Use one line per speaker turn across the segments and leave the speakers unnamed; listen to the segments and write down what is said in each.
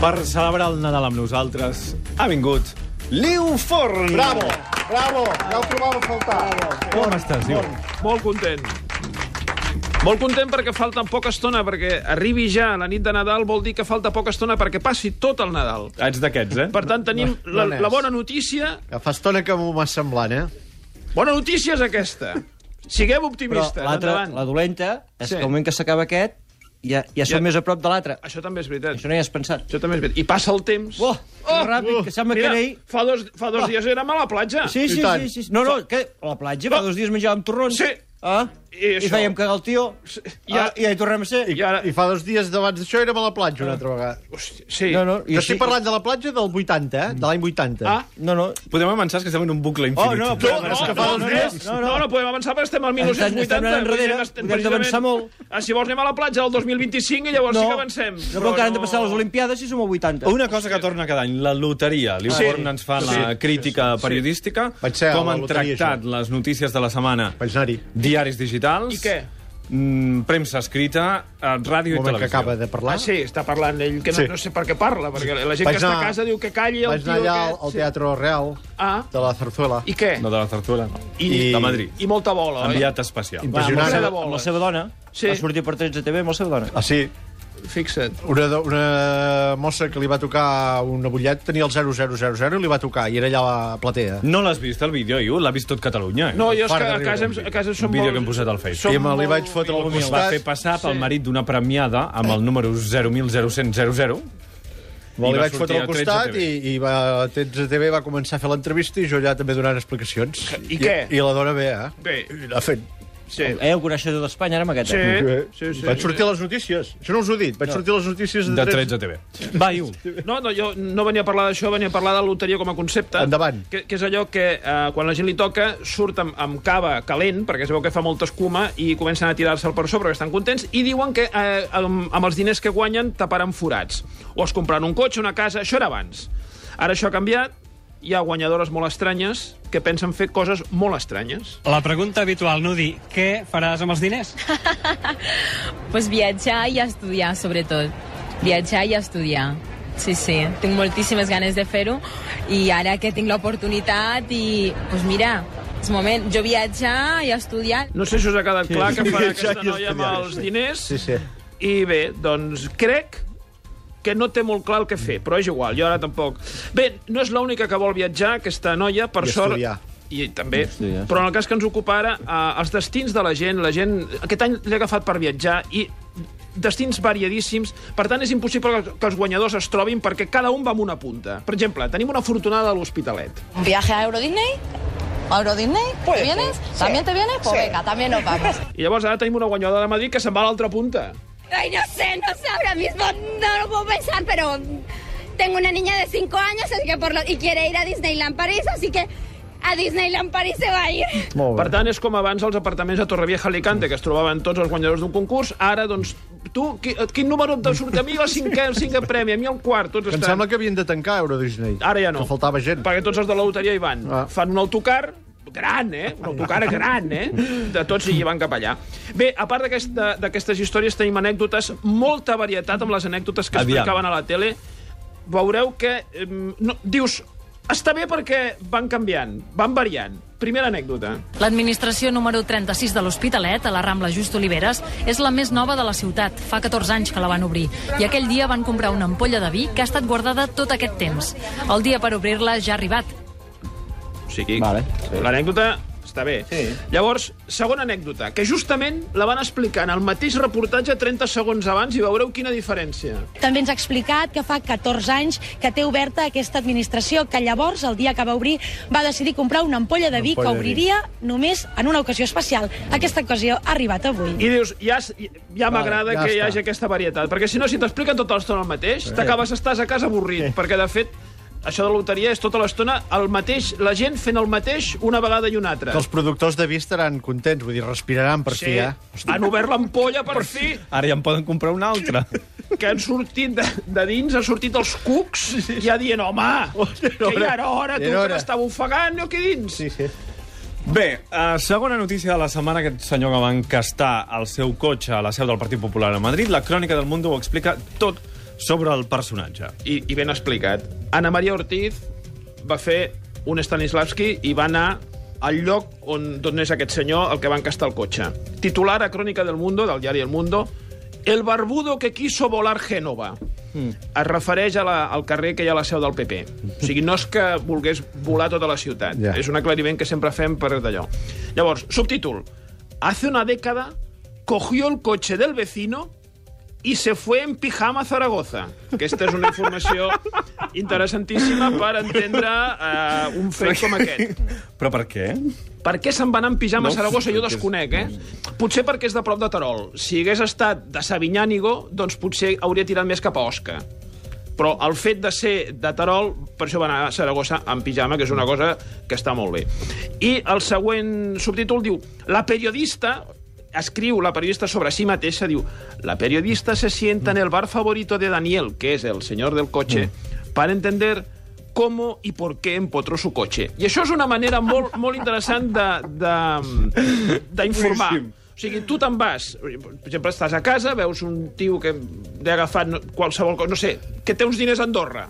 Per celebrar el Nadal amb nosaltres ha vingut Liu Forn.
Bravo, bravo, ja ho trobava a faltar.
Com estàs, Liu?
Molt content. Molt content perquè falta poca estona, perquè arribi ja la nit de Nadal vol dir que falta poca estona perquè passi tot el Nadal.
Ets d'aquests, eh?
Per tant, tenim la,
no n'és.
la bona notícia.
Que fa estona que m'ho va semblant, eh?
Bona notícia és aquesta. Siguem
Però
optimistes,
l'altra, la
endavant.
dolenta, és
Sí.
sí. que el moment que s'acaba aquest ja, ja som
Ja-
més a prop de l'altre.
Això també és veritat.
Això no hi has pensat.
Això també és veritat. I passa el temps.
Oh, oh ràpid, que sembla que
Mira,
era ahir...
fa dos, fa dos dies érem a la platja.
Sí, sí,
tant.
sí, sí, sí. No, no, que a la platja fa
No.
dos dies menjàvem torrons.
Sí.
Ah?
I
I,
això.
I fèiem cagar el tio.
Sí, i
I, ah,
ara-
I ja hi tornem a ser.
I ara...
I fa dos dies d'abans d'això érem a la platja una altra vegada.
Hòstia, sí.
No, no,
Jo
i
estic
així...
parlant de la platja del 80, eh? De l'any 80.
Ah,
No, no.
Podem avançar que estem en un bucle
Oh,
infinit.
no,
No,
però...
no,
és que
no,
fa dos
no,
dies.
No, no, no podem avançar perquè estem al 1980.
Estem anant
vull
enrere,
dir que
podem avançar molt.
Ah, si vols anem a la platja el 2025 i llavors sí que avancem.
No, però encara han de passar les Olimpiades i som a 80.
Una cosa que torna cada any, la loteria. Liu
Sí.
Forn ens fa
Sí,
la
sí,
crítica periodística.
Vaig ser a
Com
la
han
loteria,
tractat les notícies de la setmana.
Vaig anar-hi.
Diaris digitals.
I què?
Mm, premsa escrita, eh, ràdio i
Un moment que
televisió.
acaba de parlar.
Ah, sí, està parlant ell, que no,
Sí.
no sé per què parla, perquè la gent
Vaig
que està
anar-
a casa diu que calli el
Vaig
tio
anar allà al,
aquest.
al Teatre Real
Ah.
de la Zarzuela.
I què?
No de la Zarzuela.
I-
De Madrid.
I molta bola, oi?
Enviat especial.
Va,
Impressionant.
molta de
Amb la
boles.
seva dona.
Sí.
Sí. Va sortir per 13 TV amb la seva dona.
Ah, sí.
eh? Fixa't.
Una, do- una mossa que li va tocar un abullet tenia el 0000 i li va tocar, i era allà a la platea.
No l'has vist, el vídeo, Iu? L'ha vist tot Catalunya. eh?
No, jo és
Fora
que
de
a
riure,
casa,
un
a casa som
Un vídeo
molt...
que hem posat al Facebook.
som
I me li
molt
vaig fotre al
humils.
Es va
costat.
fer passar pel
Sí.
marit d'una premiada amb el número 0.0100.
Li, vaig fotre al costat i, i va, a 13 TV va començar a fer l'entrevista i jo allà també donant explicacions.
I què?
I, la dona bé, eh?
Bé.
I l'ha fet.
Sí.
Eh, el coneixedor d'Espanya, ara amb aquest.
Sí.
eh?
sí, sí.
Vaig sortir a les notícies. Això no us ho he dit. Vaig sortir a les notícies de,
De 13 TV.
Va, Iu.
No, no, jo no venia a parlar d'això, venia a parlar de la loteria com a concepte.
Endavant.
Que, que és allò que eh, quan la gent li toca surt amb, amb cava calent, perquè es veu que fa molta escuma, i comencen a tirar-se'l per sobre, que estan contents, i diuen que eh, amb, amb els diners que guanyen taparan forats. O es compraran un cotxe, una casa, això era abans. Ara això ha canviat, hi ha guanyadores molt estranyes que pensen fer coses molt estranyes.
La pregunta habitual, Nudi, què faràs amb els diners?
Pues viatjar i estudiar, sobretot. Viatjar i estudiar. Sí, sí, tinc moltíssimes ganes de fer-ho i ara que tinc l'oportunitat i, pues mira, és moment, jo viatjar i estudiar.
No sé si us ha quedat clar que farà
Ja,
aquesta
ja
noia amb
estudiaré,
els
sí.
diners.
Sí, sí.
I bé, doncs crec que no té molt clar el que fer, però és igual, jo ara tampoc. Bé, no és l'única que vol viatjar, aquesta noia, per
I
sort...
estudiar.
I també.
estudiar.
Però en el cas que ens ocupa ara, eh, els destins de la gent, la gent... Aquest any l'he agafat per viatjar i destins variadíssims, per tant és impossible que que els guanyadors es trobin perquè cada un va amb una punta. Per exemple, tenim una afortunada a l'Hospitalet.
¿Un viaje a Euro Disney? ¿A Euro Disney? ¿Te vienes? ¿También te vienes? Pues venga, también nos vamos.
I llavors ara tenim una guanyadora de Madrid que se'n va a l'altra punta.
Ay, no sé, no sé, ahora mismo no lo puedo pensar, pero tengo una niña de 5 años así que por lo- y quiere ir a Disneyland París, así que a Disneyland París se va a ir.
Molt
Per
bé.
tant, és com abans els apartaments a Torrevieja Alicante, que es trobaven tots els guanyadors d'un concurs. Ara, doncs, tu, qui, quin número et surt? A mi la cinquè, el cinquè premi, a mi el quart, tots
Que em
estan...
sembla que havien de tancar Euro Disney.
Ara ja no.
Que faltava gent.
Perquè tots els de la loteria hi van. Ah.
Ah.
Fan un autocar gran, eh? Un autocar gran, eh? De tots i van cap allà. Bé, a part d'aquesta- d'aquestes històries tenim anècdotes, molta varietat amb les anècdotes que
Aviam.
explicaven a la tele. Veureu que... em, No, dius, està bé perquè van canviant, van variant. Primera anècdota.
L'administració número 36 de l'Hospitalet, a la Rambla Just Oliveres, és la més nova de la ciutat. Fa 14 anys que la van obrir. I aquell dia van comprar una ampolla de vi que ha estat guardada tot aquest temps. El dia per obrir-la ja ha arribat.
O sigui,
Vale.
l'anècdota està bé. Sí. Llavors, segona anècdota, que justament la van explicar en el mateix reportatge 30 segons abans i veureu quina diferència.
També ens ha explicat que fa 14 anys que té oberta aquesta administració, que llavors, el dia que va obrir, va decidir comprar una ampolla de vi
ampolla
que
de vi.
obriria només en una ocasió especial. Aquesta ocasió ha arribat avui.
I dius, ja, s- ja m'agrada
ja
que hi
està.
hagi aquesta varietat, perquè si no, si t'expliquen tota l'estona el mateix, t'acabes, estàs a casa avorrit, perquè de fet, això de la loteria és tota l'estona el mateix, la gent fent el mateix una vegada i una altra.
Que els productors de vi estaran contents, vull dir, respiraran per
Sí,
fi, eh?
han obert l'ampolla per fi,
Ara ja en poden comprar una altra.
que han sortit de, de dins, han sortit els cucs, ja dient, home, que ja era hora, tu
Era
que
hora.
m'estava ofegant, jo aquí dins. Sí, sí.
Bé, eh, segona notícia de la setmana, aquest senyor que va encastar el seu cotxe a la seu del Partit Popular a Madrid. La crònica del Mundo ho explica tot sobre el personatge.
I, i ben explicat. Anna Maria Ortiz va fer un Stanislavski i va anar al lloc on, d'on és aquest senyor el que va encastar el cotxe. Titular a Crònica del Mundo, del diari El Mundo, El barbudo que quiso volar Génova. Mm. Es refereix a la, al carrer que hi ha a la seu del PP. O sigui, no és que volgués volar tota la ciutat.
Ja.
Yeah. És un aclariment que sempre fem per d'allò. Llavors, subtítol. Hace una década cogió el cotxe del vecino y se fue en pijama a Zaragoza. Aquesta és una informació interessantíssima per entendre uh, un fet com aquest.
Però per què?
Per què se'n va anar en pijama
No,
a Saragossa? Jo
perquè és-
desconec, eh? Potser perquè és de prop de Terol. Si hagués estat de Sabinyà Nigó, doncs potser hauria tirat més cap a Osca. Però el fet de ser de Terol, per això va anar a Saragossa en pijama, que és una cosa que està molt bé. I el següent subtítol diu... La periodista escriu la periodista sobre si mateixa, diu la periodista se sienta en el bar favorito de Daniel, que es el señor del coche,
Mm.
para entender cómo y por qué empotró su coche. I això és una manera molt, molt interessant de- de- d'informar.
Boníssim.
O sigui, tu te'n vas, per exemple, estàs a casa, veus un tio que ha agafat no- qualsevol cosa, no sé, que té uns diners a Andorra,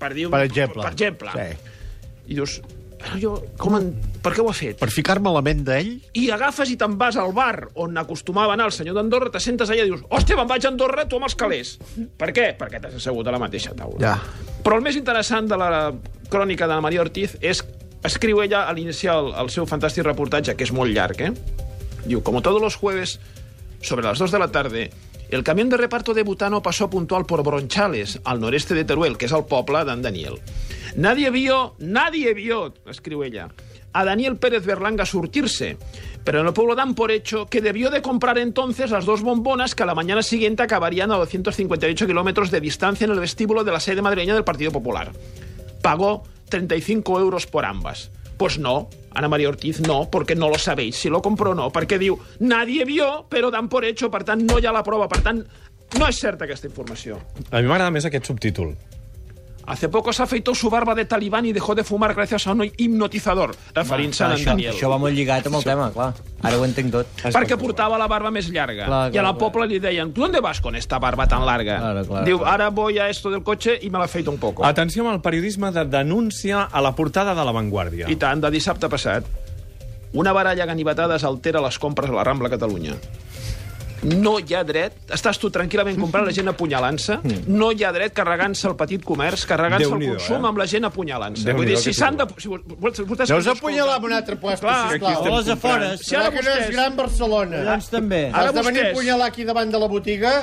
per dir... un-
Per exemple.
Per exemple.
Sí.
I dius, "Però jo, com en, per què ho ha fet?
Per ficar-me la ment d'ell...
i agafes i te'n vas al bar on acostumava a anar el senyor d'Andorra, te sentes allà i dius hòstia, me'n vaig a Andorra, tu amb els calés. Per què? Perquè t'has assegut a la mateixa taula.
Ja.
Però el més interessant de la crònica de la Maria Ortiz és escriu ella a l'iniciar el, el seu fantàstic reportatge, que és molt llarg, eh? Diu, como todos los jueves, sobre las 2 de la tarde, el camión de reparto de Butano pasó puntual por Bronchales, al noreste de Teruel, que es el poble d'en Daniel. Nadie vio, nadie vio, escriu ella, a Daniel Pérez Berlanga surtirse, pero en el pueblo dan por hecho que debió de comprar entonces las dos bombonas que a la mañana siguiente acabarían a 258 kilómetros de distancia en el vestíbulo de la sede madrileña del Partido Popular pagó 35 euros por ambas. Pues no, Ana María Ortiz no, porque no lo sabéis si lo compró o no, perquè diu, nadie vio, però dan por hecho, per tant, no hi ha la prova, per tant, no és certa aquesta informació.
A mi m'agrada més aquest subtítol.
Hace poco se afeitó su barba de talibán y dejó de fumar gracias a un hipnotizador, referint-se a en
això,
Daniel.
això va molt lligat amb el tema, clar. Ara ho entenc tot.
perquè portava la barba més llarga.
Clar, clar,
I a la
clar.
pobla li deien, tu on vas con esta barba tan larga?
Claro, claro,
Diu,
claro.
ara voy a esto del coche y me la feito un poco.
Atenció amb el periodisme de denúncia a la portada de La Vanguardia.
I tant, de dissabte passat. Una baralla a ganivetades altera les compres a la Rambla Catalunya. No hi ha dret... Estàs tu tranquil·lament comprant la gent apunyalant-se. No hi ha dret carregant-se el petit comerç, carregant-se el
Déu-n'hi-do,
consum
eh?
amb la gent apunyalant-se.
Déu-n'hi-do,
Vull dir,
que
si s'han de... Si vo- vo-
No
vostès
us
que ens
apunyalar
escolten-
amb un altre lloc,
Clar,
sisplau.
O les afores.
Si ara
que no és
vostès-
gran Barcelona.
Doncs també.
Ara
Has de venir a
vostès-
apunyalar aquí davant de la botiga?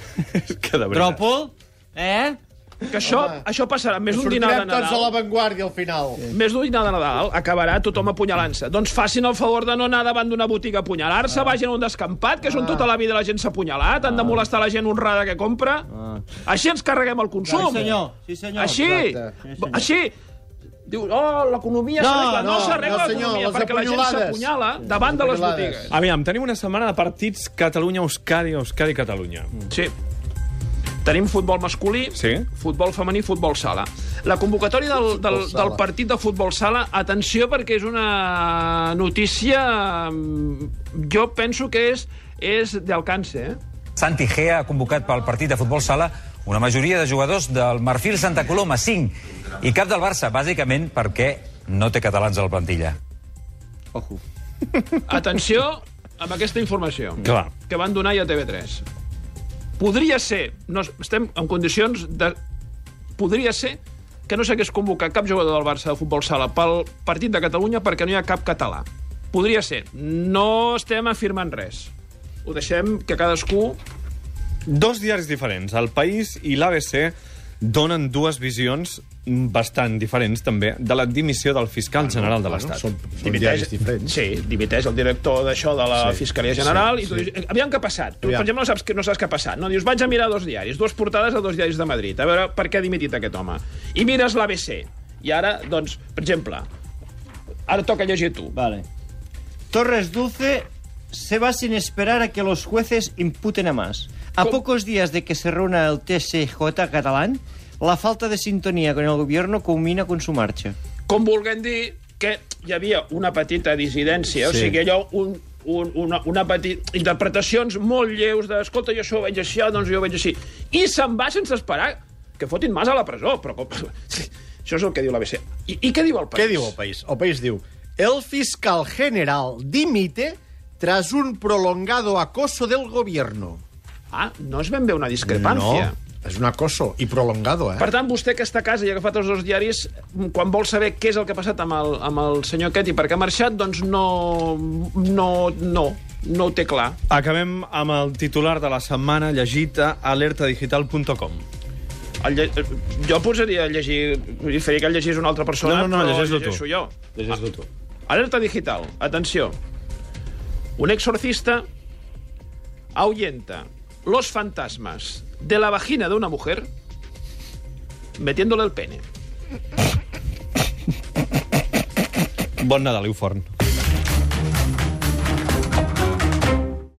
Que de veritat.
Tròpol? Eh?
Que això, això passarà més d'un dinar de
Sortirem tots a
Nadal.
l'avantguàrdia al final.
Més d'un dinar de Nadal acabarà tothom apunyalant-se. Doncs facin el favor de no anar davant d'una botiga a apunyalar-se, vagin a un descampat, que és on tota la vida la gent s'ha apunyalat, han de molestar la gent honrada que compra. Així ens carreguem el consum.
Sí, senyor. Sí, senyor.
Així.
Exacte.
Sí, així. Diu, oh, l'economia
No,
s'arregla. No,
no,
s'arregla
no, senyor,
l'economia,
les
perquè la gent
apunyolades.
s'apunyala davant de les
apunyolades.
botigues.
Aviam, tenim una setmana de partits Catalunya-Euskadi, Euskadi-Catalunya.
Sí. Tenim futbol masculí,
Sí.
futbol femení, futbol sala. La convocatòria del, del,
sala.
del partit de futbol sala, atenció, perquè és una notícia... mm, Jo penso que és, és d'alcance, eh?
Santi Gea ha convocat pel partit de futbol sala una majoria de jugadors del Marfil Santa Coloma, 5, i cap del Barça, bàsicament perquè no té catalans a la plantilla.
Atenció amb aquesta informació
Clar.
que van donar ja a TV3. Podria ser, no, estem en condicions de... Podria ser que no s'hagués convocat cap jugador del Barça de futbol sala pel partit de Catalunya perquè no hi ha cap català. Podria ser. No estem afirmant res. Ho deixem que cadascú...
Dos diaris diferents, El País i l'ABC, donen dues visions bastant diferents, també, de la dimissió del fiscal general de l'Estat.
Són diaris diferents.
Sí, dimiteix el director d'això de la sí, Fiscalia General sí, i tu sí. dius, aviam què ha passat. Tu,
Aviam.
per exemple, no saps, que, no saps què ha passat. No, dius, vaig a mirar dos diaris, dues portades a dos diaris de Madrid, a veure per què ha dimitit aquest home. I mires l'ABC. I ara, doncs, per exemple, ara toca llegir tu.
Vale. Torres Dulce se va sin esperar a que los jueces imputen a más. A
Com-
pocos días de que se reúna el TSJ catalán, la falta de sintonía con el gobierno culmina con su marcha.
Com vulguem dir que hi havia una petita dissidència, sí. o sigui, allò, un, un, una, una petit... interpretacions molt lleus de, escolta, jo això ho veig així, doncs jo ho veig així. I se'n va sense esperar que fotin mas a la presó. Però com... sí, això és el que diu l'ABC. I, I què diu el país?
Què diu el país? El país diu... El fiscal general dimite tras un prolongado acoso del gobierno.
Ah, no és ben bé una discrepància.
No, és un acoso, i prolongado, eh?
Per tant, vostè que està a casa i ha agafat els dos diaris, quan vol saber què és el que ha passat amb el, amb el senyor aquest i per què ha marxat, doncs no... no... no. No ho té clar.
Acabem amb el titular de la setmana llegit a alertadigital.com.
El lle... Jo posaria a llegir... Faria que el llegís una altra persona,
No, no, no,
però
llegeix-lo tu.
llegeixo jo. Ah.
Llegeix-lo tu.
Alerta digital, atenció. Un exorcista ahuyenta los fantasmas de la vagina de una mujer metiéndole el pene.
Bon Nadal, Iu Forn.